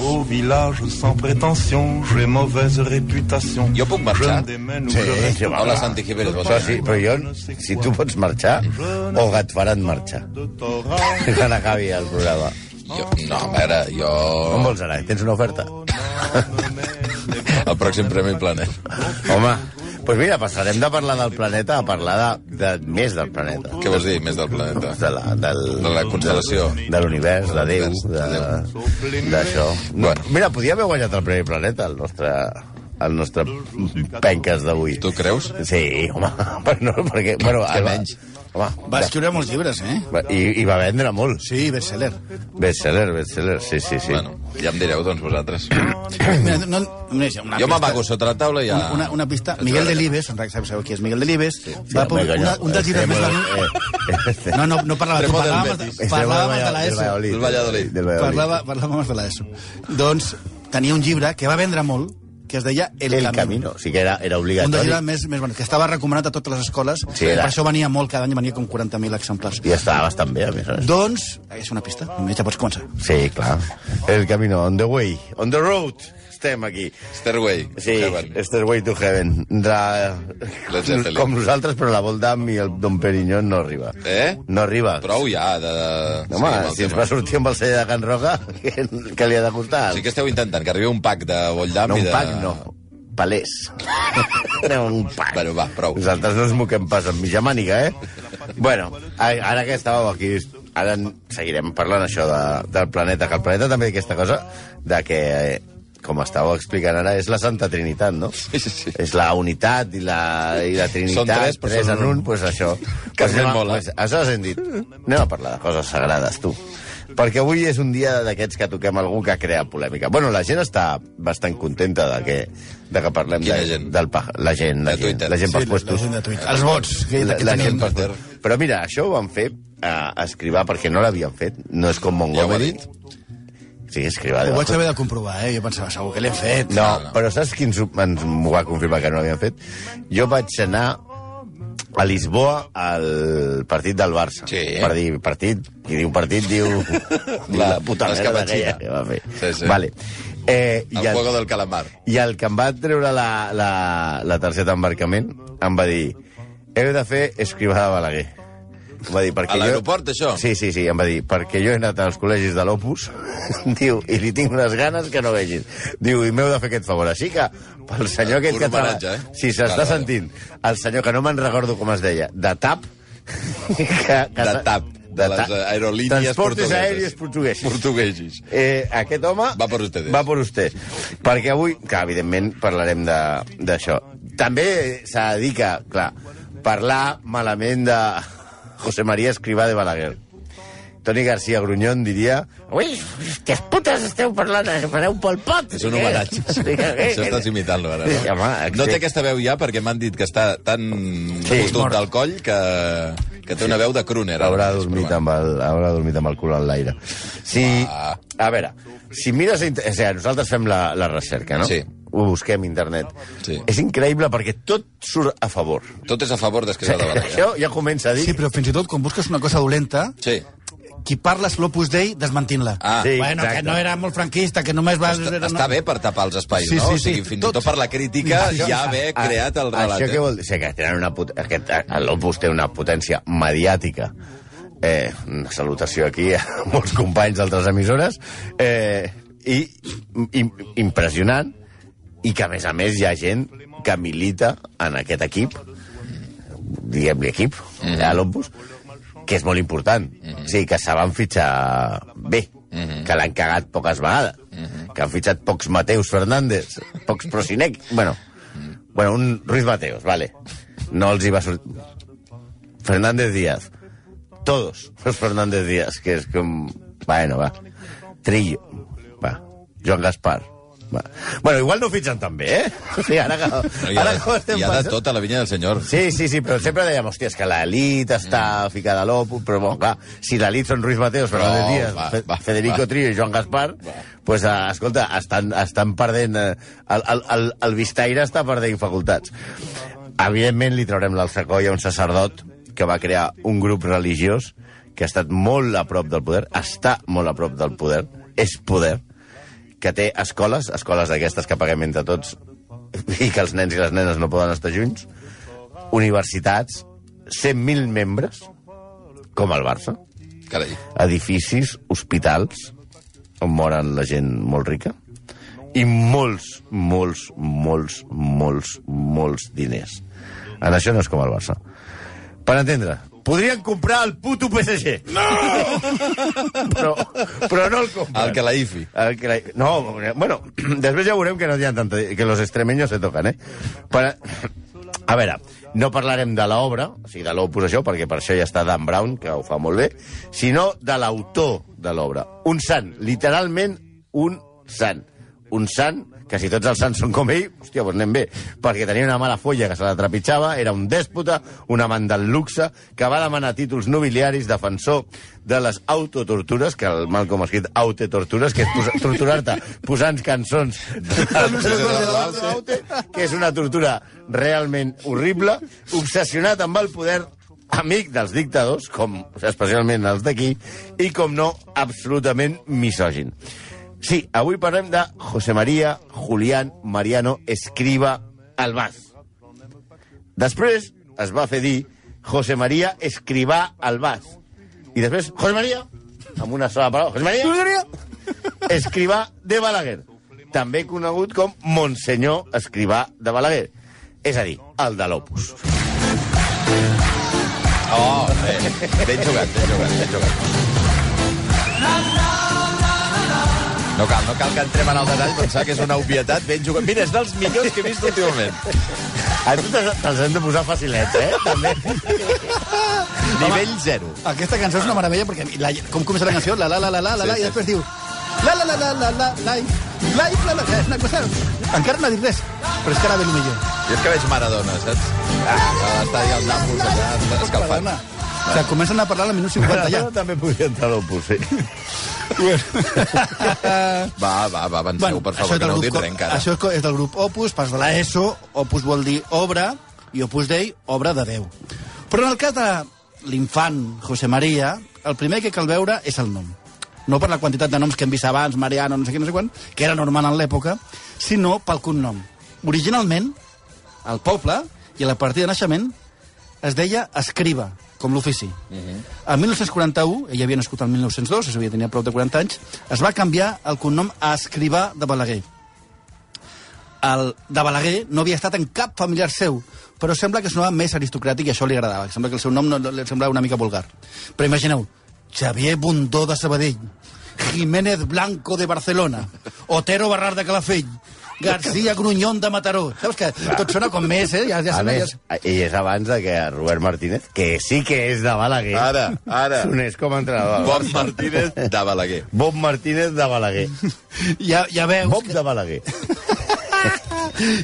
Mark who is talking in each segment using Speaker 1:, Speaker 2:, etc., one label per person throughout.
Speaker 1: Au village sans prétention, j'ai mauvaise réputation.
Speaker 2: Jo puc marxar?
Speaker 1: Je me démène où
Speaker 3: Sí,
Speaker 1: je reste
Speaker 3: sí, va.
Speaker 1: là.
Speaker 2: Hola, Santi Jiménez,
Speaker 1: Le
Speaker 3: Això sí, però
Speaker 1: ne
Speaker 3: jo,
Speaker 1: sais
Speaker 3: si
Speaker 1: quoi.
Speaker 3: tu pots marxar, o et faran marxar.
Speaker 1: De Torah,
Speaker 3: Quan acabi el programa.
Speaker 2: Jo, no, a veure, jo...
Speaker 3: On vols anar? Tens una oferta?
Speaker 2: El pròxim Premi Planet.
Speaker 3: Home, doncs mira, passarem de parlar del planeta a parlar de, de més del planeta.
Speaker 2: Què vols dir, més del planeta?
Speaker 3: De la, del,
Speaker 2: De la constel·lació.
Speaker 3: De, de l'univers, de Déu, de- d'això. No,
Speaker 2: Bueno.
Speaker 3: mira, podia haver guanyat el Premi Planeta, el nostre el nostre penques d'avui.
Speaker 2: Tu creus?
Speaker 3: Sí, home, però no, perquè... Bueno,
Speaker 4: Que
Speaker 3: el-
Speaker 4: menys.
Speaker 3: Home,
Speaker 4: Va escriure molts llibres, eh?
Speaker 3: va- i, i va vendre molt.
Speaker 4: Sí, bestseller.
Speaker 3: Bestseller, bestseller, sí, sí, sí.
Speaker 2: Bueno, ja em direu, doncs, vosaltres.
Speaker 4: Mira, no, no, és una
Speaker 2: Jo
Speaker 4: pista-
Speaker 2: m'amago sota la taula i ja...
Speaker 4: Una, una pista. Miguel Delibes, sabeu, sabeu qui és Miguel Delibes, va
Speaker 3: Sí,
Speaker 4: pub-
Speaker 3: vinga,
Speaker 4: una,
Speaker 3: ja.
Speaker 4: un dels llibres més
Speaker 3: Eh,
Speaker 4: venuts...
Speaker 3: eh, eh,
Speaker 4: No, no, no parlava, tu
Speaker 2: Extremo del
Speaker 4: parlàvem,
Speaker 2: Betis.
Speaker 4: de- parlàvem de
Speaker 3: Del
Speaker 4: l'ESO.
Speaker 3: Valladolid.
Speaker 2: Del Valladolid.
Speaker 3: Del Valladolid.
Speaker 4: Parlava, parlàvem abans de l'ESO. Doncs tenia un llibre que va vendre molt, que es deia El,
Speaker 3: El Camino, sí que era, era
Speaker 4: Un dels
Speaker 3: obligatori.
Speaker 4: llibres més, més bons, que estava recomanat a totes les escoles,
Speaker 3: Sí,
Speaker 4: i
Speaker 3: era.
Speaker 4: per això venia molt, cada any venia com 40.000 exemplars.
Speaker 3: I estava bastant bé, a més a més.
Speaker 4: Doncs, és una pista, només ja pots començar.
Speaker 3: Sí, clar. El Camino, on the way, on the road, estem aquí.
Speaker 2: Stairway.
Speaker 3: Sí,
Speaker 2: Heaven.
Speaker 3: Stairway to Heaven. De...
Speaker 2: Led Zeppelin.
Speaker 3: Com nosaltres, però la Voldam i el Don Perignon no arriba.
Speaker 2: Eh?
Speaker 3: No arriba.
Speaker 2: Prou ja de...
Speaker 3: No, home,
Speaker 2: Seguim el
Speaker 3: si ens
Speaker 2: tema.
Speaker 3: va sortir amb el celler de Can Roca, què, què li ha de costar?
Speaker 2: Sí que esteu intentant que arribi un pack de Volldam
Speaker 3: No,
Speaker 2: i
Speaker 3: un
Speaker 2: de...
Speaker 3: pack no. Palés. no, un pack.
Speaker 2: Bueno, va, prou.
Speaker 3: Nosaltres no ens moquem pas amb mitja màniga, eh? bueno, a- ara que estàvem aquí, ara en- seguirem parlant això de, del planeta, que el planeta també té aquesta cosa de que, eh, com estàveu explicant ara, és la Santa Trinitat, no?
Speaker 2: Sí, sí, sí.
Speaker 3: És la unitat i la, i la Trinitat.
Speaker 2: Són tres, però són
Speaker 3: en
Speaker 2: un.
Speaker 3: un, doncs pues això.
Speaker 2: Que
Speaker 3: Pues
Speaker 2: es ven
Speaker 3: anem a-
Speaker 2: molt, eh?
Speaker 3: pues, Aleshores hem dit, anem a parlar de coses sagrades, tu. Perquè avui és un dia d'aquests que toquem algú que crea polèmica. Bueno, la gent està bastant contenta de que, de que parlem
Speaker 2: Quina
Speaker 3: de,
Speaker 2: gent?
Speaker 3: del pa, la gent, la
Speaker 2: De
Speaker 3: gent,
Speaker 2: Twitter.
Speaker 3: la gent pels
Speaker 4: la, la
Speaker 3: puestos.
Speaker 4: gent de Twitter. Els vots. Que,
Speaker 3: La,
Speaker 4: que
Speaker 3: la
Speaker 4: tenim.
Speaker 3: gent pels puestos. Però mira, això ho van fer a, a escrivar perquè no l'havien fet. No és
Speaker 2: Ja
Speaker 3: com
Speaker 2: ho ha
Speaker 3: Montgomery.
Speaker 2: dit?
Speaker 3: Sí, escrivar.
Speaker 4: Ho vaig haver de comprovar, eh? Jo pensava, segur que l'hem fet.
Speaker 2: Ah,
Speaker 3: No, però saps quins ho- ens m'ho va confirmar que no l'havien fet? Jo vaig anar a Lisboa al partit del Barça.
Speaker 2: Sí.
Speaker 3: Per dir partit, qui diu partit diu, diu la,
Speaker 2: La-
Speaker 3: la puta merda
Speaker 2: l'escapatxina.
Speaker 3: aquella que va fer.
Speaker 2: Sí, sí.
Speaker 3: Vale. Eh,
Speaker 2: El juego del calamar.
Speaker 3: I el que em va treure la, la, la targeta d'embarcament em va dir heu de fer escrivada de Balaguer. Em va dir, perquè
Speaker 2: A
Speaker 3: jo-
Speaker 2: l'aeroport, això?
Speaker 3: Sí, sí, sí, em va dir, perquè jo he anat als col·legis de l'Opus, diu, i li tinc unes ganes que no vegin. Diu, i m'heu de fer aquest favor. Així que, pel senyor aquest
Speaker 2: Un
Speaker 3: que... tra-
Speaker 2: homenatge, eh?
Speaker 3: Si s'està
Speaker 2: Vale, vale.
Speaker 3: sentint, el senyor, que no me'n recordo com es deia, de TAP... que, que
Speaker 2: De TAP, de les
Speaker 3: TAP.
Speaker 2: aerolínies
Speaker 3: Transportes
Speaker 2: portugueses.
Speaker 3: aèries portugueses.
Speaker 2: Portuguesos.
Speaker 3: Eh, aquest home...
Speaker 2: Va per ustedes.
Speaker 3: Va per vostè. Perquè avui, que evidentment parlarem de- d'això. També s'ha de dir que, clar, parlar malament de José María Escrivá de Balaguer. Toni García Grunyón diria... Ui, que putes esteu parlant, fareu pel pot.
Speaker 2: És un homenatge. Això estàs imitant-lo ara.
Speaker 3: Sí,
Speaker 2: No?
Speaker 3: home,
Speaker 2: no té
Speaker 3: sí.
Speaker 2: aquesta veu ja perquè m'han dit que està tan
Speaker 3: Sí,
Speaker 2: acostumat
Speaker 3: mort.
Speaker 2: del coll que, que té una veu de crooner. ara
Speaker 3: Haurà
Speaker 2: mateix,
Speaker 3: dormit,
Speaker 2: però
Speaker 3: amb el, haurà dormit amb el cul en l'aire. Si,
Speaker 2: Va.
Speaker 3: a veure, si mires... a inter- O sigui, nosaltres fem la, la recerca, no?
Speaker 2: Sí.
Speaker 3: Ho busquem a internet.
Speaker 2: Sí.
Speaker 3: És increïble perquè tot surt a favor.
Speaker 2: bueno. Tot és a favor d'escriure de Balaguer.
Speaker 3: Això ja comença a dir...
Speaker 4: Sí, però fins i tot quan busques una cosa dolenta,
Speaker 2: Sí.
Speaker 4: qui parla és l'Opus Dei desmentint-la.
Speaker 2: Ah,
Speaker 3: Sí,
Speaker 4: bueno,
Speaker 3: exacte.
Speaker 4: que no era molt franquista, que només va...
Speaker 2: Està,
Speaker 4: era
Speaker 2: està
Speaker 4: una-
Speaker 2: bé per tapar els espais,
Speaker 4: Sí,
Speaker 2: no?
Speaker 4: sí,
Speaker 2: o sigui,
Speaker 4: sí,
Speaker 2: fins
Speaker 4: tot.
Speaker 2: i tot per la crítica
Speaker 4: Mira,
Speaker 2: ja
Speaker 4: això-
Speaker 2: haver
Speaker 3: Ah,
Speaker 2: creat el relat.
Speaker 3: Això què
Speaker 2: eh?
Speaker 3: vol dir? O sigui, que tenen una pot... Aquest, eh, l'Opus té una potència mediàtica. Eh, una salutació aquí a molts companys d'altres emissores. Eh, i, i, impressionant. I que, a més a més, hi ha gent que milita en aquest equip, diguem-li equip,
Speaker 2: Mm-hmm.
Speaker 3: mm -hmm. a l'Opus, que és molt important. Mm -hmm. O sigui, que se van fitxar bé, mm
Speaker 2: Mm-hmm.
Speaker 3: -hmm. que l'han cagat poques vegades, mm -hmm. que han fitxat pocs Mateus Fernández, pocs Prosinec... Bueno, bueno, un Ruiz Mateos, vale. No els hi va sortir... Fernández Díaz. Todos los Fernández Díaz, que es com... Bueno, va. Trillo. Va. Joan Gaspar. Va. Bueno, igual no fitxen tan bé, eh? Sí, ara, que,
Speaker 2: No, hi ha,
Speaker 3: ara que ho
Speaker 2: de,
Speaker 3: estem
Speaker 2: hi ha de
Speaker 3: pensant-
Speaker 2: tot a la vinya del senyor.
Speaker 3: Sí, sí, sí, però sempre dèiem, hòstia, és que l'elit
Speaker 2: Mm.
Speaker 3: està ficada a l'Opus, però bon, clar, si l'elit són Ruiz Mateos, Fernández
Speaker 2: No,
Speaker 3: Díaz,
Speaker 2: va,
Speaker 3: Fe-
Speaker 2: va,
Speaker 3: Federico
Speaker 2: va.
Speaker 3: Trillo i Joan Gaspar, doncs, pues, eh, escolta, estan, estan perdent... eh, El, el, el, el Vistaire està perdent facultats. Evidentment li traurem l'alçacoll a un sacerdot que va crear un grup religiós que ha estat molt a prop del poder, està molt a prop del poder, és poder, que té escoles, escoles d'aquestes que paguem entre tots i que els nens i les nenes no poden estar junts, universitats, 100.000 membres, com el Barça,
Speaker 2: Carai.
Speaker 3: edificis, hospitals, on moren la gent molt rica, i molts, molts, molts, molts, molts diners. En això no és com el Barça. Per entendre, podrien comprar el puto PSG. No! però, però no el compren.
Speaker 2: El que la IFI.
Speaker 3: El que la... No, bueno, després ja veurem que no hi ha tant... que los extremeños se toquen, eh? Para... A veure, no parlarem de l'obra, o sigui, de l'opus això, perquè per això ja està Dan Brown, que ho fa molt bé, sinó de l'autor de l'obra. Un sant, literalment un sant. Un sant, que si tots els sants són com ell, hòstia, doncs anem bé, perquè tenia una mala folla que se la trepitjava, era un dèspota, un amant del luxe, que va demanar títols nobiliaris, defensor de les autotortures, que el Malcolm ha escrit autotortures, que és posa- torturar-te posant cançons que és una tortura realment horrible, obsessionat amb el poder, amic dels dictadors, com especialment els d'aquí, i com no, absolutament misògin. Sí, avui parlem de José María Julián Mariano Escriba Albaz. Després es va fer dir José María Escribá Albaz. I després, José María, amb una sola paraula, José María, Escribà de Balaguer, també conegut com Monsenyor Escribà de Balaguer, és a dir, el de l'Opus.
Speaker 2: Oh, bé, ben jugat, ben jugat, ben jugat. No cal, no cal que entrem en el detall, pensar que és una obvietat ben jugat. Mira, és dels millors que he vist últimament.
Speaker 3: A tu te'ls te'ls hem de posar facilets, eh? També.
Speaker 2: Nivell zero.
Speaker 4: Aquesta cançó és una meravella perquè la, com comença la cançó, la la la la la, la, la
Speaker 2: Sí,
Speaker 4: i
Speaker 2: sí,
Speaker 4: després diu la la la la la la la la la la és una cosa... Encara no ha dit res, però és que ara ve el millor.
Speaker 2: Jo és que veig Maradona, saps? Ah, està allà al Nàpols, allà, estan escalfant.
Speaker 4: Perdona. O sigui, comencen a parlar a la minut 50 ja.
Speaker 3: Però també podria entrar a l'Opus, sí.
Speaker 2: Va, va, va, avanceu, per favor, que no ho
Speaker 4: grup,
Speaker 2: dic res encara.
Speaker 4: això és co- és del grup Opus, pas de la ESO, Opus vol dir obra, i Opus Dei, obra de Déu. Però en el cas de l'infant José María, el primer que cal veure és el nom. No per la quantitat de noms que hem vist abans, Mariano, no sé què, no sé quan, que era normal en l'època, sinó pel cognom. Originalment, al poble i a la partida de naixement es deia escriba, com l'ofici. Uh
Speaker 3: Mhm.
Speaker 4: -huh. En 1941, ell havia nascut el 1902, és a dir, tenia prop de 40 anys, es va canviar el cognom a escrivà de Balaguer. El de Balaguer no havia estat en cap familiar seu, però sembla que sonava més aristocràtic i això li agradava. Sembla que el seu nom no, no- li semblava una mica vulgar. Però imagineu, Xavier Bundó de Sabadell, Jiménez Blanco de Barcelona, Otero Barrar de Calafell, García Grunyón de Mataró. Saps que tot sona com més, eh? Ja, ja
Speaker 3: A
Speaker 4: sembla-
Speaker 3: més, i és abans de que Robert Martínez, que sí que és de Balaguer,
Speaker 2: Ara, ara.
Speaker 3: s'uneix com a entrenador.
Speaker 2: Bob Martínez de Balaguer.
Speaker 3: Bob Martínez de Balaguer.
Speaker 4: ja, ja veus...
Speaker 3: Bob de Balaguer.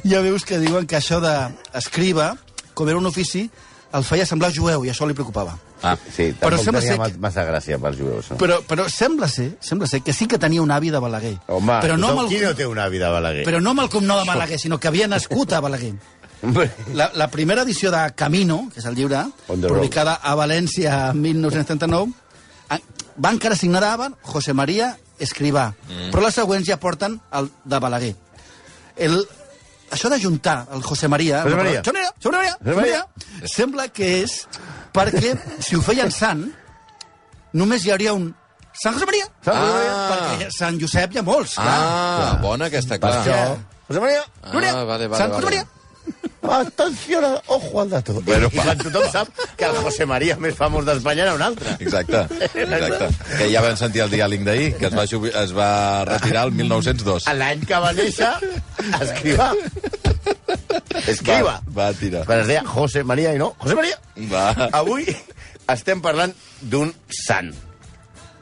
Speaker 4: ja veus que diuen que això d'escriva, com era un ofici, el feia semblar jueu i això li preocupava.
Speaker 2: Ah,
Speaker 3: Sí,
Speaker 4: Però
Speaker 3: tampoc
Speaker 4: sembla
Speaker 3: tenia
Speaker 4: ser que-
Speaker 3: ma- massa gràcia pels jueus. No?
Speaker 4: Però, però sembla ser, sembla ser que sí que tenia un avi de Balaguer.
Speaker 3: Home,
Speaker 4: però, no amb
Speaker 3: qui no
Speaker 4: el,
Speaker 3: té un avi de Balaguer?
Speaker 4: però no amb el cognom de Balaguer, sinó que havia nascut a Balaguer. La, la primera edició de Camino, que és el llibre,
Speaker 3: On the road.
Speaker 4: publicada a València en 1939, a- va encara signar d'Aban José María Escrivà, mm. però les següents ja porten el de Balaguer. El, això d'ajuntar el José María...
Speaker 3: José María.
Speaker 4: José María, José María, José María, Sembla que és perquè si ho feien sant, només hi hauria un Sant José María. Ah.
Speaker 3: Sant José
Speaker 2: María.
Speaker 4: Perquè Sant Josep hi ha molts, clar.
Speaker 2: Ah, bona aquesta, clar.
Speaker 3: Això... José María,
Speaker 2: Ah,
Speaker 4: José María,
Speaker 2: vale, vale,
Speaker 4: Sant José
Speaker 2: vale.
Speaker 4: María.
Speaker 3: Atenció, ara, ojo al dato. Bueno, I, I quan tothom sap que el José María més famós d'Espanya era un altre.
Speaker 2: Exacte, exacte. Que ja vam sentir el diàleg d'ahir, que es va, jubi- es va retirar el 1902.
Speaker 3: A L'any que va néixer, escriva. Escriva.
Speaker 2: Va, va, tira.
Speaker 3: Quan es deia José María i no, José María.
Speaker 2: Va.
Speaker 3: Avui estem parlant d'un sant,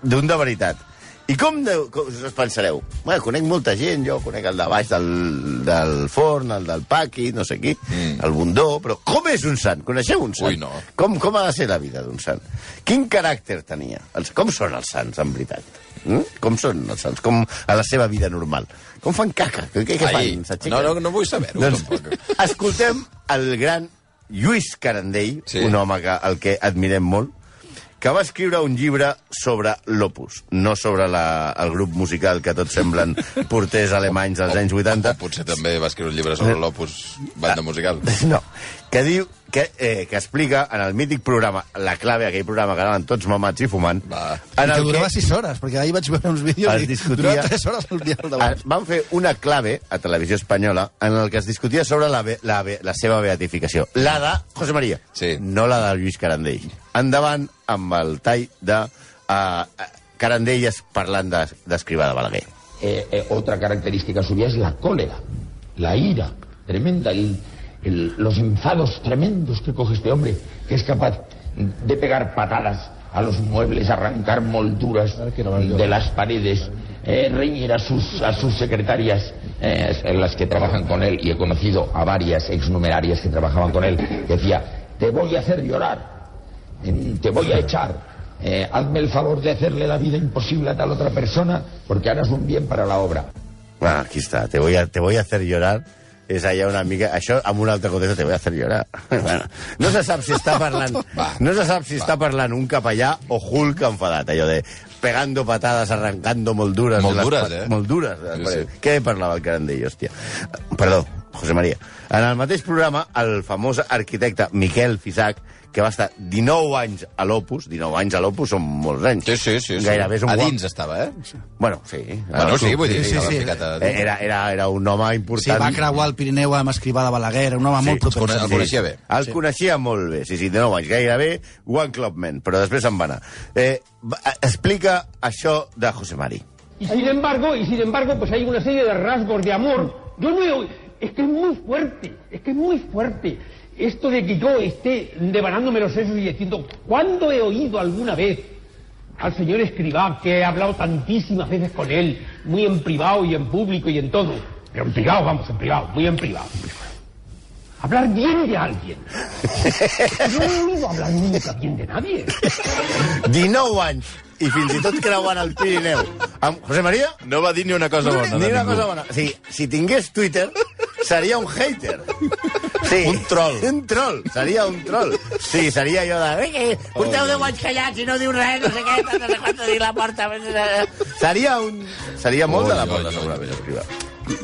Speaker 3: d'un de veritat, I com, de, com us pensareu? Bueno, conec molta gent, jo conec el de baix del, del forn, el del paqui, no sé qui, mm. el bundó, però com és un sant? Coneixeu un sant?
Speaker 2: Ui, no.
Speaker 3: Com, com ha de ser la vida d'un sant? Quin caràcter tenia? Els, com són els sants, en veritat? Mm? Com són els sants? Com a la seva vida normal? Com fan caca? Què, què
Speaker 2: Ai,
Speaker 3: fan?
Speaker 2: no,
Speaker 3: S'aixequen?
Speaker 2: no, no vull saber-ho,
Speaker 3: Doncs,
Speaker 2: tampoc.
Speaker 3: escoltem el gran Lluís Carandell,
Speaker 2: Sí.
Speaker 3: sí. un home que, el que admirem molt, que va escriure un llibre sobre l'Opus, no sobre la, el grup musical que tots semblen porters alemanys dels anys 80.
Speaker 2: O potser també va escriure un llibre sobre
Speaker 3: Eh.
Speaker 2: l'Opus Banda Musical.
Speaker 3: No, que diu que, eh, que explica en el mític programa, la clave, aquell programa que anaven tots mamats i fumant,
Speaker 2: Va.
Speaker 4: En
Speaker 3: en
Speaker 4: que
Speaker 3: el
Speaker 4: durava
Speaker 3: que
Speaker 4: 6 hores, perquè ahir vaig veure uns vídeos
Speaker 3: es
Speaker 4: i
Speaker 3: discutia... Ah,
Speaker 4: durava 3 hores el dia al
Speaker 3: Es-
Speaker 4: davant.
Speaker 3: Van fer una clave a Televisió Espanyola en el que es discutia sobre la, be- la, be- la seva beatificació. La de José María,
Speaker 2: Sí.
Speaker 3: no la de Lluís Carandell. Endavant amb el tall de uh, Carandelles parlant de- d'Escrivà de, de Balaguer.
Speaker 5: Eh, eh, otra característica suya es la cólera, la ira tremenda, el- el- los enfados tremendos que coge este hombre, que es capaz de pegar patadas a los muebles, arrancar molduras de las paredes, eh, reñir a sus, a sus secretarias, eh, en las que trabajan con él, y he conocido a varias exnumerarias que trabajaban con él, que decía, te voy a hacer llorar, Mm, te voy a echar. Eh, hazme el favor de hacerle la vida imposible a tal otra persona porque harás un bien para la obra.
Speaker 3: Ah, aquí està, te voy, a, te voy a hacer llorar és allà una mica... Això, amb un altre context, te voy a hacer llorar. Bueno, no se sap si està parlant...
Speaker 2: Va.
Speaker 3: No se sap si està parlant un capellà o Hulk enfadat, allò de pegando patadas, arrancando molduras...
Speaker 2: Molt
Speaker 3: de les
Speaker 2: dures,
Speaker 3: pa-
Speaker 2: eh?
Speaker 3: Molt dures. de les
Speaker 2: Sí,
Speaker 3: paredes.
Speaker 2: sí.
Speaker 3: Què parlava el Carandell, hòstia? Perdó, José María. En el mateix programa, el famós arquitecte Miquel Fisac, que va estar 19 anys a l'Opus, 19 anys a l'Opus són molts anys.
Speaker 2: Sí, sí, sí. sí.
Speaker 3: Gairebé és un
Speaker 2: a
Speaker 3: guap-
Speaker 2: dins estava, eh?
Speaker 3: Bueno, sí.
Speaker 2: Bueno, sí, vull dir,
Speaker 4: sí,
Speaker 2: sí,
Speaker 4: sí.
Speaker 2: sí, sí.
Speaker 3: Eh, Era, era, era un home
Speaker 4: Sí,
Speaker 3: important.
Speaker 4: va creuar el Pirineu amb Escrivà de Balaguer, era un home
Speaker 3: Sí,
Speaker 4: molt proper.
Speaker 2: el coneixia bé.
Speaker 3: El sí. coneixia molt bé, sí, sí, de 9 anys, gairebé One Club Man, però després se'n va anar. Eh, va- eh, explica això de José Mari.
Speaker 6: Y sin embargo, y sin embargo, pues hay una serie de rasgos de amor. Yo no he- es que es muy fuerte, es que es muy fuerte esto de que yo esté devanándome los sesos y diciendo, ¿cuándo he oído alguna vez al señor Escribá, que he hablado tantísimas veces con él, muy en privado y en público y en todo? Pero en privado, vamos, en privado, muy en privado. Hablar bien de alguien. Yo no he oído hablar nunca bien de nadie.
Speaker 3: 19 anys i fins i tot creuant el Pirineu. Amb José María?
Speaker 2: No va dir ni una cosa bona.
Speaker 3: Ni
Speaker 2: de
Speaker 3: una
Speaker 2: ningú.
Speaker 3: cosa bona. Sí, si tingués Twitter, seria un hater. Sí.
Speaker 2: Un troll.
Speaker 3: Un troll, seria un troll. Sí, seria allò de... "Eh, Porteu
Speaker 2: Oh.
Speaker 3: 10 anys callats i no diu res, no sé què, no sé quant dir la porta... Seria un... Seria molt
Speaker 2: Ui,
Speaker 3: de la
Speaker 2: ui,
Speaker 3: porta,
Speaker 2: ui,
Speaker 3: segurament.
Speaker 2: ui.
Speaker 3: escriure.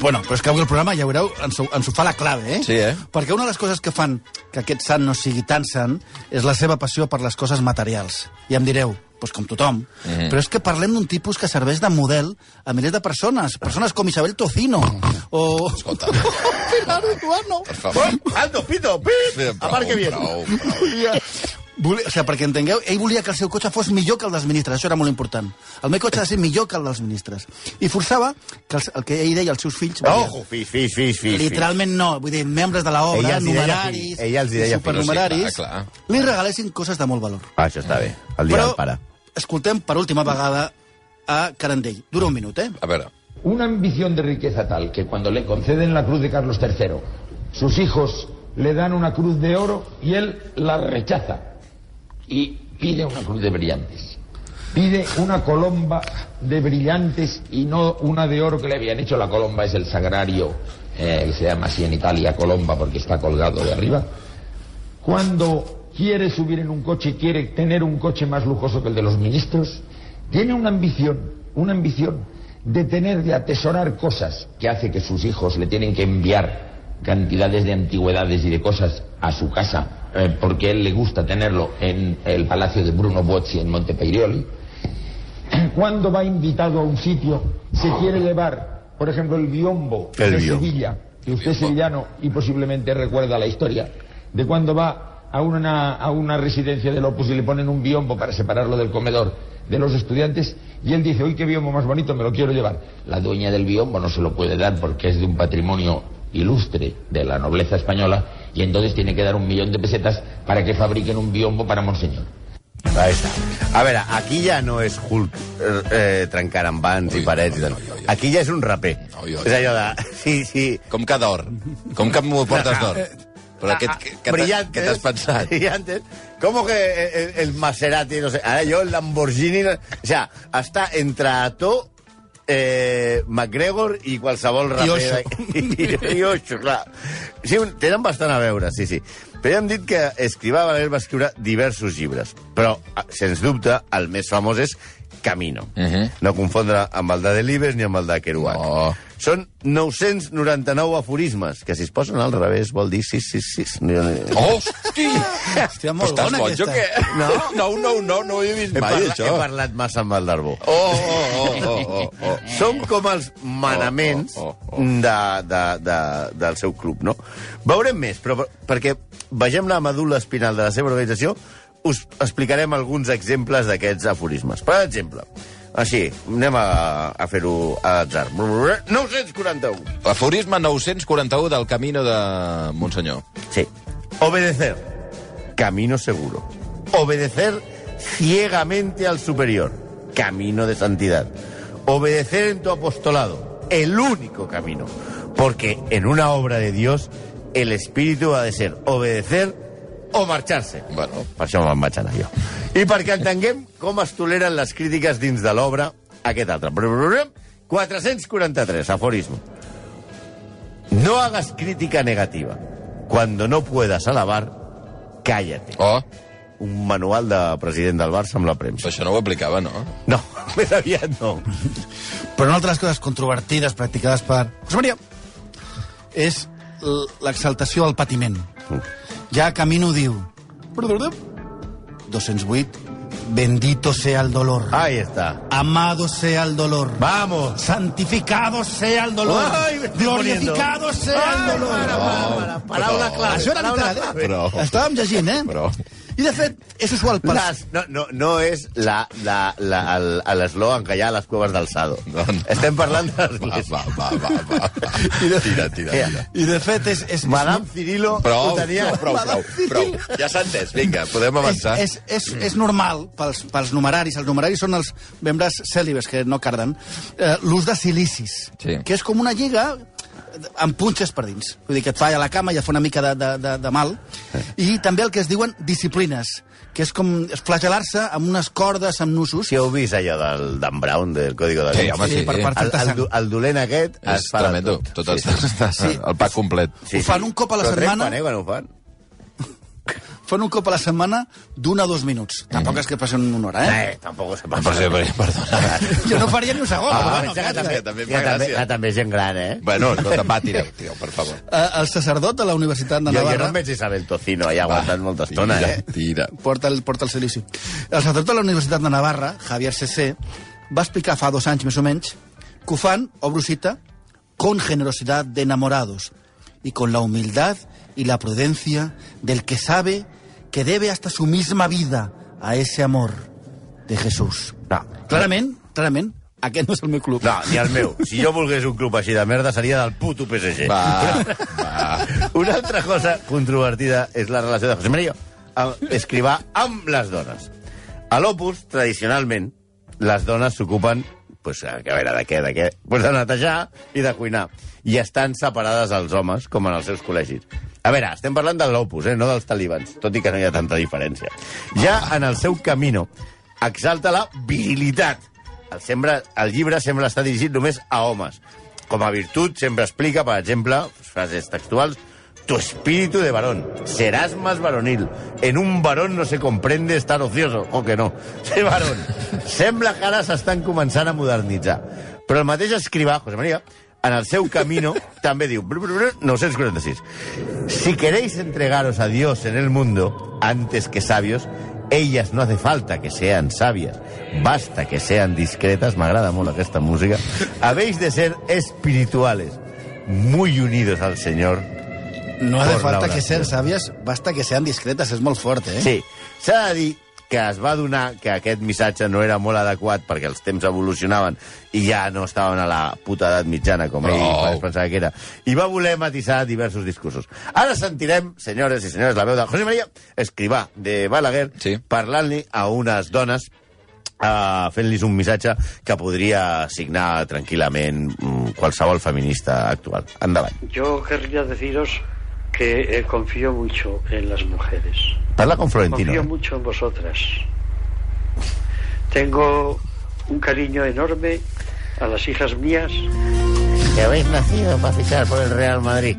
Speaker 4: Bueno, però és que avui el programa, ja veureu, ens ho, ens ho fa la clave, eh?
Speaker 2: Sí, eh?
Speaker 4: Perquè una de les coses que fan que aquest sant no sigui tan sant és la seva passió per les coses materials. I em direu, doncs com tothom. Mm. Però és que parlem d'un tipus que serveix de model a milers de persones. Persones com Isabel Tocino o...
Speaker 2: Escolta.
Speaker 4: Pilar Urbano.
Speaker 2: Per favor.
Speaker 3: Alto, pito, pit!
Speaker 2: Prou,
Speaker 3: Aparque bien.
Speaker 2: prou, prou.
Speaker 4: Volia, o sigui, perquè entengueu, ell volia que el seu cotxe fos millor que el dels ministres, això era molt important. El meu cotxe ha de ser millor que el dels ministres. I forçava que els, el que ell deia als seus fills...
Speaker 3: Ojo, fills, fills, fills, fills.
Speaker 4: Literalment no, vull dir, membres de la obra,
Speaker 3: Ella els hi deia
Speaker 4: numeraris,
Speaker 3: fill, ella els hi deia fill.
Speaker 4: supernumeraris,
Speaker 2: Sí, clar,
Speaker 4: li regalessin coses de molt valor.
Speaker 3: Ah, això està bé. El dia del pare.
Speaker 4: escoltem per última vegada a Carandell. Dura un minut, eh?
Speaker 2: A veure,
Speaker 5: Una ambición de riqueza tal que cuando le conceden la cruz de Carlos III, sus hijos le dan una cruz de oro y él la rechaza y pide una cruz de brillantes. Pide una colomba de brillantes y no una de oro que le habían hecho. La colomba es el sagrario, eh, que se llama así en Italia colomba porque está colgado de arriba. cuando quiere subir en un coche y quiere tener un coche más lujoso que el de los ministros, tiene una ambición, una ambición de tener, de atesorar cosas que hace que sus hijos le tienen que enviar cantidades de antigüedades y de cosas a su casa, eh, porque él le gusta tenerlo en el palacio de Bruno Bozzi en Montepeioli cuando va invitado a un sitio, se quiere llevar, por ejemplo, el biombo
Speaker 3: Ah. El
Speaker 5: de
Speaker 3: biombo.
Speaker 5: Sevilla, que usted es sevillano y posiblemente recuerda la historia, de cuando va a una, a una residencia del Opus y le ponen un biombo para separarlo del comedor de los estudiantes, y él dice, uy, qué biombo más bonito, me lo quiero llevar. La dueña del biombo no se lo puede dar porque es de un patrimonio ilustre de la nobleza española, y entonces tiene que dar un millón de pesetas para que fabriquen un biombo para Monseñor.
Speaker 3: Ahí està. A veure, aquí ja no és Hulk eh, eh, trencant amb bands i
Speaker 7: Ui,
Speaker 3: parets.
Speaker 7: no,
Speaker 3: i
Speaker 7: no,
Speaker 3: tal.
Speaker 7: no, ja.
Speaker 3: Aquí ja és un raper.
Speaker 7: Ui, ui.
Speaker 3: És allò de... Sí, sí.
Speaker 7: Com cada d'or. Com cap m'ho portes d'or.
Speaker 3: Ah,
Speaker 7: Però aquest, què- què t'has-
Speaker 3: Eh, Brillantes,
Speaker 7: què t'has pensat?
Speaker 3: Brillantes. ¿Cómo que el, el Maserati, no sé? Ara jo, el Lamborghini... no- O sea, està entre Ató, eh, McGregor i qualsevol raper. I Osho. I Osho, clar. Sí, un- tenen bastant a veure, sí, sí. Però ja hem dit que Escrivà Valer va escriure diversos llibres, però, eh, sens dubte, el més famós és Camino. Uh
Speaker 7: Mhm.
Speaker 3: -huh. No confondre amb el de Delibes ni amb el de Kerouac.
Speaker 7: No.
Speaker 3: Són 999 aforismes, que si es posen al revés vol dir 666. No,
Speaker 7: Hosti!
Speaker 4: Hòstia,
Speaker 7: Però
Speaker 4: molt
Speaker 7: estàs
Speaker 4: bona
Speaker 7: boig o
Speaker 4: aquesta.
Speaker 7: què? No, no, no, no, no ho he vist
Speaker 3: he,
Speaker 7: mai,
Speaker 3: parla, he
Speaker 7: això.
Speaker 3: parlat massa amb el d'Arbó.
Speaker 7: Oh, oh, oh, oh, oh, oh.
Speaker 3: Són com els manaments
Speaker 7: Oh, oh,
Speaker 3: De, de, de, del seu club, no? Veurem més, però per- perquè vegem la medul·la espinal de la seva organització, us explicarem alguns exemples d'aquests aforismes. Per exemple, així, anem a, a fer-ho a l'atzar. 941.
Speaker 7: Aforisme 941 del Camino de Montsenyor.
Speaker 3: Sí. Obedecer. Camino seguro. Obedecer ciegamente al superior. Camino de santidad. Obedecer en tu apostolado. El único camino. Porque en una obra de Dios el espíritu ha de ser obedecer o marcharse.
Speaker 7: Bueno.
Speaker 3: Per això me'n vaig anar jo. I perquè entenguem com es toleren les crítiques dins de l'obra, aquest altre. 443, aforismo. No hagas crítica negativa. Cuando no puedas alabar, cállate.
Speaker 7: Oh,
Speaker 3: Un manual de president del Barça amb la premsa.
Speaker 7: això no ho aplicava, no?
Speaker 3: No, més aviat no.
Speaker 4: Però una altra de les coses controvertides practicades per José María és l- l'exaltació al patiment. Ja Camino diu... 208, bendito sea el dolor.
Speaker 3: Ahí está.
Speaker 4: Amado sea el dolor.
Speaker 3: Vamos.
Speaker 4: Santificado sea el dolor.
Speaker 3: Ai, me estoy
Speaker 4: Glorificado sea el dolor. Oh.
Speaker 3: Para, para, para, paraula clara.
Speaker 4: Això era
Speaker 3: paraula
Speaker 4: veritat, eh?
Speaker 3: clave.
Speaker 7: Però-
Speaker 4: Estàvem llegint, eh?
Speaker 7: Però-
Speaker 4: I, de fet, és usual per...
Speaker 3: Las, no, no, no és la- la- la- el- l'eslògan que hi ha a les cueves del Sado.
Speaker 7: No, no.
Speaker 3: Estem parlant de
Speaker 7: Va,
Speaker 3: l'església.
Speaker 7: va, va, va, va. Tira, tira, tira. tira.
Speaker 4: I, de fet, és... és
Speaker 3: Madame Cirilo
Speaker 7: Prou,
Speaker 3: ho tenia...
Speaker 7: prou, prou, prou. Ja s'ha entès, vinga, podem
Speaker 4: és,
Speaker 7: avançar.
Speaker 4: és, és, és normal pels, pels numeraris, els numeraris són els membres cèlibes que no carden, eh, l'ús de silicis,
Speaker 7: Sí.
Speaker 4: que és com una lliga amb punxes per dins. Vull dir que et fa a la cama i et fa una mica de, de, de, de mal. I també el que es diuen disciplines, que és com flagelar-se amb unes cordes, amb nusos.
Speaker 3: Si heu vist allò del Dan Brown, del Código de la
Speaker 7: Sí,
Speaker 3: Ley?
Speaker 7: home, sí.
Speaker 4: per part-
Speaker 3: El, el, do- el dolent aquest
Speaker 7: És
Speaker 3: es fa de
Speaker 7: tremendo. Tot el,
Speaker 4: Sí.
Speaker 7: el pack complet.
Speaker 4: Ho fan un cop a la
Speaker 3: Però
Speaker 4: setmana.
Speaker 3: Trepen, eh, quan ho fan?
Speaker 4: Fan un cop a la setmana d'un a dos minuts.
Speaker 7: Mm.
Speaker 4: Tampoc és que passin una hora, eh?
Speaker 3: Eh, tampoc se
Speaker 7: Però,
Speaker 3: passa.
Speaker 7: sí, però,
Speaker 3: Ah,
Speaker 7: perdona.
Speaker 4: Jo no faria ni un segon.
Speaker 7: Ah,
Speaker 4: no,
Speaker 7: va,
Speaker 4: no,
Speaker 7: ja que
Speaker 4: calla.
Speaker 7: també- també em fa gràcia.
Speaker 3: Que també és gent gran, eh?
Speaker 7: Bueno, escolta, va, tireu, tireu, per favor.
Speaker 4: Eh, el sacerdot de la Universitat de
Speaker 3: Jo,
Speaker 4: Navarra...
Speaker 3: jo no em veig Isabel Tocino allà aguantant molta estona,
Speaker 7: tira,
Speaker 3: eh?
Speaker 7: Tira.
Speaker 4: porta el, porta el silici. El sacerdot de la Universitat de Navarra, Javier C.C., va explicar fa dos anys més o menys que ho fan, obro cita, con generosidad de enamorados y con la humildad y la prudencia del que sabe que debe hasta su misma vida a ese amor de Jesús.
Speaker 3: No.
Speaker 4: Clarament, clarament, aquest no és el meu club.
Speaker 3: No, ni el meu. Si jo volgués un club així de merda seria del puto PSG.
Speaker 7: Va,
Speaker 3: Una altra cosa controvertida és la relació de José María amb escrivà amb les dones. A l'Opus, tradicionalment, les dones s'ocupen pues, a veure, de què, de què? Pues de netejar i de cuinar. I estan separades als homes, com en els seus col·legis. A veure, estem parlant de l'Opus, eh, no dels talibans, tot i que no hi ha tanta diferència. Ja en el seu camino exalta la virilitat. El, sembra, el llibre sembla estar dirigit només a homes. Com a virtut sempre explica, per exemple, frases textuals, tu espíritu de varón, serás más varonil. En un varón no se comprende estar ocioso, o que no, ser varón. Sembla que ara s'estan començant a modernitzar. Però el mateix escrivà, José María, en el seu camino, també diu, blu, blu, blu, 946, si queréis entregaros a Dios en el mundo, antes que sabios, ellas no hace falta que sean sabias, basta que sean discretas, m'agrada molt aquesta música, habéis de ser espirituales, muy unidos al Señor
Speaker 4: No
Speaker 3: Por la oració.
Speaker 4: sàvies, basta que sean discretes, és molt fort, eh?
Speaker 3: Sí, s'ha de dir que es va donar que aquest missatge no era molt adequat perquè els temps evolucionaven i ja no estaven a la puta edat mitjana com ell
Speaker 7: Prou.
Speaker 3: es pensava que era. I va voler matisar diversos discursos. Ara sentirem, senyores i senyors, la veu de José María Escrivà, de Balaguer,
Speaker 7: Sí.
Speaker 3: parlant-li a unes dones uh, fent-los un missatge que podria signar tranquil·lament mm, qualsevol feminista actual. Endavant.
Speaker 8: Yo querría deciros que eh, confío mucho en las mujeres.
Speaker 3: Parla com Florentino.
Speaker 8: Confío
Speaker 3: eh?
Speaker 8: mucho en vosotras. Tengo un cariño enorme a las hijas mías.
Speaker 3: Que habéis nacido para fichar por el Real Madrid.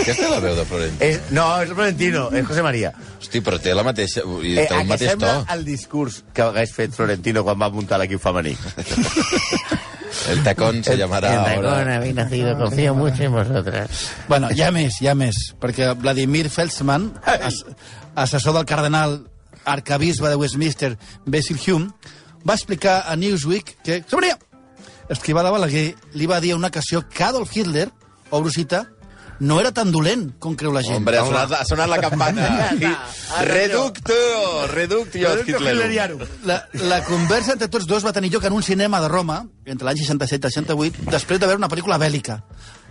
Speaker 7: Aquesta és la veu de Florentino.
Speaker 3: Es, Eh, no, és Florentino, és José María.
Speaker 7: Hosti, però té la mateixa... vull dir,
Speaker 3: Eh,
Speaker 7: té
Speaker 3: a
Speaker 7: el
Speaker 3: que
Speaker 7: mateix to.
Speaker 3: sembla el discurs que hagués fet Florentino quan va muntar l'equip femení.
Speaker 7: El tacón se llamará ahora.
Speaker 3: habéis nacido, confío mucho en vosotras.
Speaker 4: Bueno, hi ha més, hi ha més, perquè Vladimir Felsman, as assessor del cardenal arcabisbe de Westminster, Basil Hume, va explicar a Newsweek que... Sobria! Escrivà de Balaguer li va dir a una ocasió que Adolf Hitler, obro cita, no era tan dolent com creu la gent.
Speaker 7: Hombre, ha sonat, ha sonat la campana. Reducto, reductio, Hitler.
Speaker 4: La, la conversa entre tots dos va tenir lloc en un cinema de Roma, entre l'any 67 i 68, després de veure una pel·lícula bèl·lica,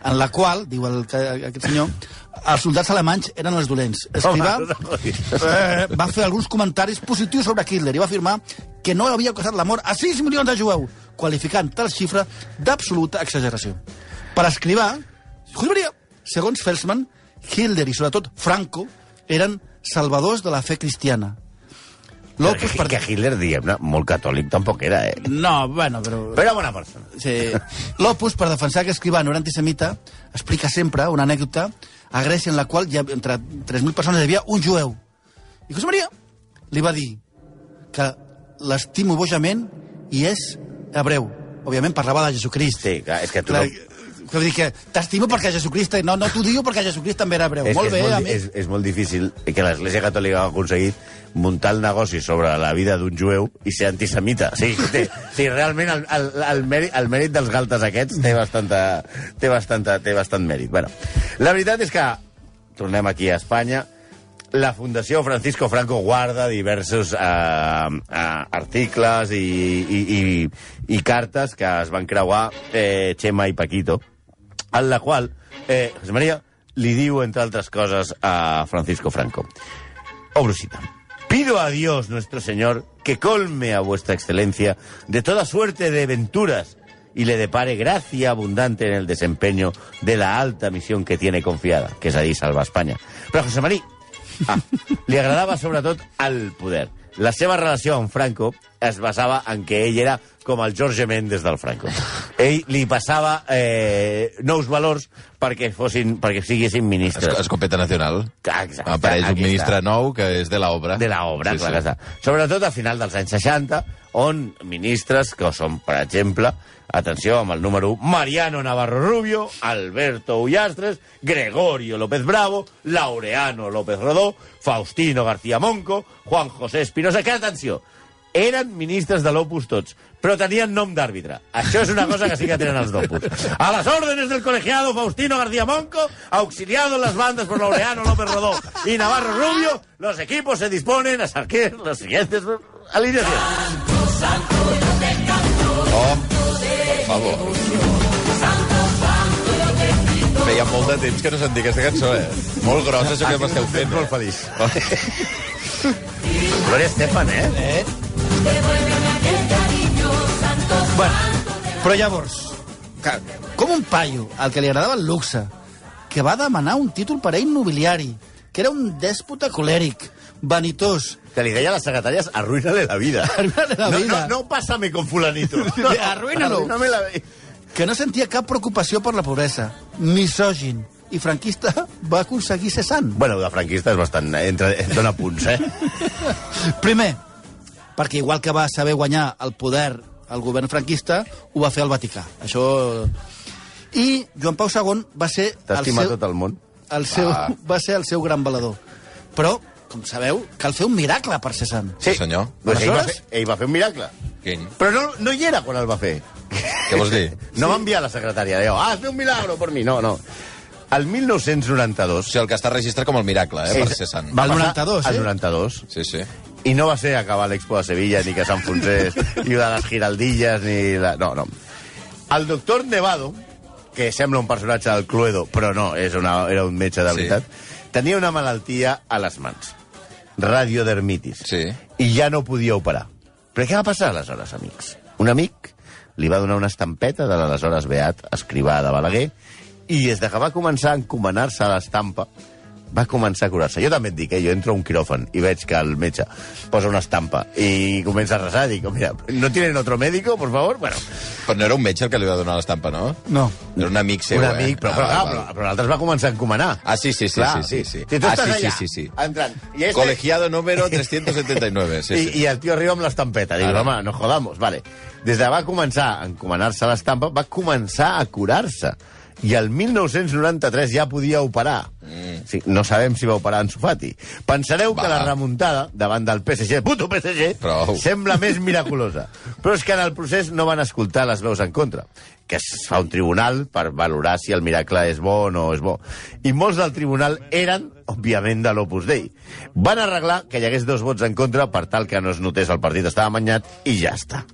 Speaker 4: en la qual, diu el, ca- aquest senyor, els soldats alemanys eren els dolents. Escrivà eh, va fer alguns comentaris positius sobre Hitler i va afirmar que no havia causat la mort a 6 milions de jueus, qualificant tal xifra d'absoluta exageració. Per escrivar, José María, segons Felsman, Hitler i sobretot Franco eren salvadors de la fe cristiana.
Speaker 3: L'Opus
Speaker 4: L'Opus
Speaker 3: perquè
Speaker 4: Partei...
Speaker 3: Hitler, diguem-ne, molt catòlic tampoc era, eh?
Speaker 4: No, bueno, però...
Speaker 3: Però era bona persona.
Speaker 4: Sí. L'Opus, per defensar que Escribano era antisemita, explica sempre una anècdota a Grècia en la qual hi ha, entre 3.000 persones hi havia un jueu. I José María li va dir que l'estimo bojament i és hebreu. Òbviament parlava de Jesucrist.
Speaker 3: Sí, clar, és que tu
Speaker 4: Clar,
Speaker 3: no-
Speaker 4: que vull dir que t'estimo perquè Jesucrist... No, no t'ho diu perquè Jesucrist també era hebreu.
Speaker 3: És,
Speaker 4: molt
Speaker 3: que és,
Speaker 4: bé, a
Speaker 3: molt,
Speaker 4: mi.
Speaker 3: di- és, és molt difícil que l'Església Catòlica ha aconseguit muntar el negoci sobre la vida d'un jueu i ser antisemita. Sí, té, sí realment el, el, el, mèrit, el mèrit dels galtes aquests té, bastanta, té, bastanta, té bastant mèrit. Bueno, la veritat és que, tornem aquí a Espanya, la Fundació Francisco Franco guarda diversos eh, eh, articles i, i, i, i cartes que es van creuar eh, Chema i Paquito, en la qual eh, José María li diu, entre altres coses, a Francisco Franco. Obro cita. Oh, Pido a Dios nuestro Señor que colme a vuestra excelencia de toda suerte de venturas y le depare gracia abundante en el desempeño de la alta misión que tiene confiada, que es ahí salva Espanya. Però a José Marí ah, li agradava sobretot el poder. La seva relació amb Franco es basava en que ell era com el Jorge Méndez del Franco. Ell li passava eh, nous valors perquè, fossin, perquè siguessin
Speaker 7: Esco-
Speaker 3: ministres.
Speaker 7: Escopeta Nacional.
Speaker 3: Ah, exacte,
Speaker 7: Apareix un
Speaker 3: aquí
Speaker 7: ministre
Speaker 3: està.
Speaker 7: nou que és de l'obra.
Speaker 3: De l'obra, sí, clar sí. que està. Sobretot a final dels anys 60, on ministres que són, per exemple, atenció amb el número 1, Mariano Navarro Rubio, Alberto Ullastres, Gregorio López Bravo, Laureano López Rodó, Faustino García Monco, Juan José Espinosa, que atenció, eren ministres de l'Opus tots, però tenien nom d'àrbitre. Això és una cosa que sí que tenen els d'Opus. A les órdenes del colegiado Faustino García Monco, auxiliado en las bandas por Laureano López Rodó y Navarro Rubio, los equipos se disponen a saquear las siguientes alineaciones.
Speaker 2: Oh,
Speaker 7: Per favor. Feia molt de temps que no sentia aquesta cançó, eh? Molt grossa, això que m'esteu fent. Molt feliç.
Speaker 2: Oh,
Speaker 3: Gloria Estefan, eh?
Speaker 4: Bueno, però llavors, que, com un paio al que li agradava el luxe, que va demanar un títol per a ell nobiliari, que era un dèspota colèric, vanitós,
Speaker 3: Que li deia a les secretàries, arruïna-li la vida.
Speaker 4: Arruïna-li la
Speaker 3: no,
Speaker 4: vida.
Speaker 3: No, no pásame con fulanito. No,
Speaker 4: Arruïna-lo.
Speaker 3: Arruïna-me la vida.
Speaker 4: que no sentia cap preocupació per la pobresa, misògin i franquista, va aconseguir ser sant.
Speaker 3: Bueno, de franquista és bastant... eh, Entre, dona punts, eh?
Speaker 4: Primer, perquè igual que va saber guanyar el poder al govern franquista, ho va fer el Vaticà. Això... I Joan Pau II va ser...
Speaker 3: T'estima tot el món.
Speaker 4: el seu, ah. va ser el seu gran valedor. Però, com sabeu, cal fer un miracle per ser sant.
Speaker 7: Sí, senyor.
Speaker 3: Doncs ell, va
Speaker 4: Aleshores?
Speaker 3: fer, ell va fer un miracle.
Speaker 7: Quin?
Speaker 3: Però no, no hi era quan el va fer.
Speaker 7: Què vols dir?
Speaker 3: No va enviar la secretària. Deu, ah, has fet un milagro per mi. No, no. El 1992...
Speaker 7: O sigui, el que està registrat com el miracle, eh, per ser sant.
Speaker 4: Va- El
Speaker 3: passar
Speaker 4: 92, eh?
Speaker 3: El 92.
Speaker 7: Sí, sí.
Speaker 3: Y no va a ser acabar la Expo de Sevilla, ni que se enfonsés, ni una de les giraldilles, ni... La... No, no. El doctor Nevado, que sembla un personatge del Cluedo, però no, és una, era un metge de
Speaker 2: Sí.
Speaker 3: veritat, sí. tenia una malaltia a les mans. Radiodermitis.
Speaker 2: Sí.
Speaker 3: I ja no podia operar. Però què va passar aleshores, amics? Un amic li va donar una estampeta de l'aleshores Beat Escrivà de Balaguer i des de que va començar a encomanar-se a l'estampa va començar a curar-se. Jo també et dic, eh? jo entro a un quiròfan i veig que el metge posa una estampa i comença a resar. Dic, mira, ¿no tienen otro médico, por favor? Bueno,
Speaker 2: Però no era un metge el que li va donar l'estampa, no?
Speaker 4: No.
Speaker 2: Era un amic seu,
Speaker 3: un
Speaker 2: eh?
Speaker 3: amic, però,
Speaker 2: Ah,
Speaker 3: però,
Speaker 2: val,
Speaker 3: clar,
Speaker 2: val.
Speaker 3: però, però l'altre es va començar a encomanar.
Speaker 2: Ah, sí, sí, sí,
Speaker 3: Clar.
Speaker 2: sí, sí, sí.
Speaker 3: Si tu
Speaker 2: Ah,
Speaker 3: estàs
Speaker 2: sí,
Speaker 3: allà,
Speaker 2: sí, sí, sí.
Speaker 3: entrant, i este-
Speaker 2: Colegiado número 379, sí,
Speaker 3: I,
Speaker 2: sí.
Speaker 3: I el tio arriba amb l'estampeta. Diu,
Speaker 2: Ara.
Speaker 3: home, no jodamos, vale. Des de va començar a encomanar-se l'estampa, va començar a curar-se. I el 1993 ja podia operar. Mm. Sí, no sabem si va operar en Sufati. Pensareu
Speaker 2: Va.
Speaker 3: va. que la remuntada davant del PSG, puto PSG,
Speaker 2: Prou.
Speaker 3: sembla més miraculosa. Però és que en el procés no van escoltar les veus en contra que es fa un tribunal per valorar si el miracle és bo o no és bo. I molts del tribunal eren, òbviament, de l'Opus Dei. Van arreglar que hi hagués dos vots en contra per tal que no es notés el partit estava manyat i ja està.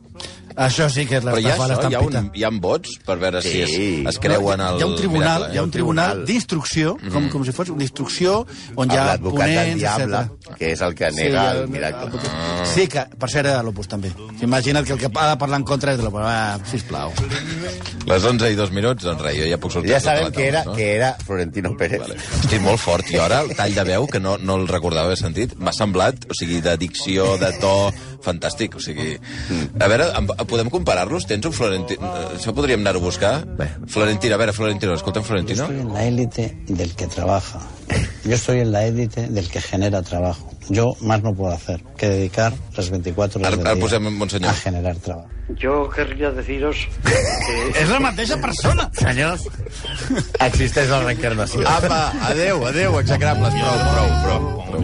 Speaker 4: Això sí que és
Speaker 2: Però hi ha
Speaker 4: l'estafa a
Speaker 2: això, hi ha,
Speaker 4: l'estampita.
Speaker 2: un, hi ha vots per veure si
Speaker 3: Sí.
Speaker 2: es, es creuen
Speaker 4: No,
Speaker 2: el...
Speaker 4: hi ha un tribunal,
Speaker 2: miracle, eh?
Speaker 4: hi ha un tribunal d'instrucció, com, com si fos una instrucció on hi ha
Speaker 3: L'advocat del
Speaker 4: ponents,
Speaker 3: diable,
Speaker 4: etc.
Speaker 3: que és el que nega sí,
Speaker 4: el-
Speaker 3: el, miracle.
Speaker 4: Ah. Sí, que per cert era de l'Opus també. Imagina't que el que ha de parlar en contra és de l'Opus. Ah, sisplau.
Speaker 2: Les 11 i 2 minuts, doncs res, jo ja puc sortir.
Speaker 3: Ja
Speaker 2: tota
Speaker 3: sabem
Speaker 2: la
Speaker 3: que era,
Speaker 2: taula, no?
Speaker 3: que era Florentino Pérez.
Speaker 2: Vale. Estic molt fort, i ara el tall de veu, que no, no el recordava haver sentit, m'ha semblat, o sigui, de dicció, de to, fantàstic, o sigui... A veure, em- podem comparar-los? Tens un Florentino? Això podríem anar-ho a buscar? Florentino, a veure, Florentino, escolta'm, Florentino.
Speaker 9: Yo estoy en la élite del que trabaja. Yo estoy en la élite del que genera trabajo. Yo más no puedo hacer que dedicar las 24 horas
Speaker 2: Ara,
Speaker 9: del
Speaker 2: ara
Speaker 9: día
Speaker 2: posem en Montsenyor.
Speaker 9: a generar trabajo.
Speaker 8: Yo querría deciros que
Speaker 4: És la mateixa persona.
Speaker 3: Senyors, existeix la reencarnació.
Speaker 2: Apa, adeu, adeu, execrables, prou, prou, prou.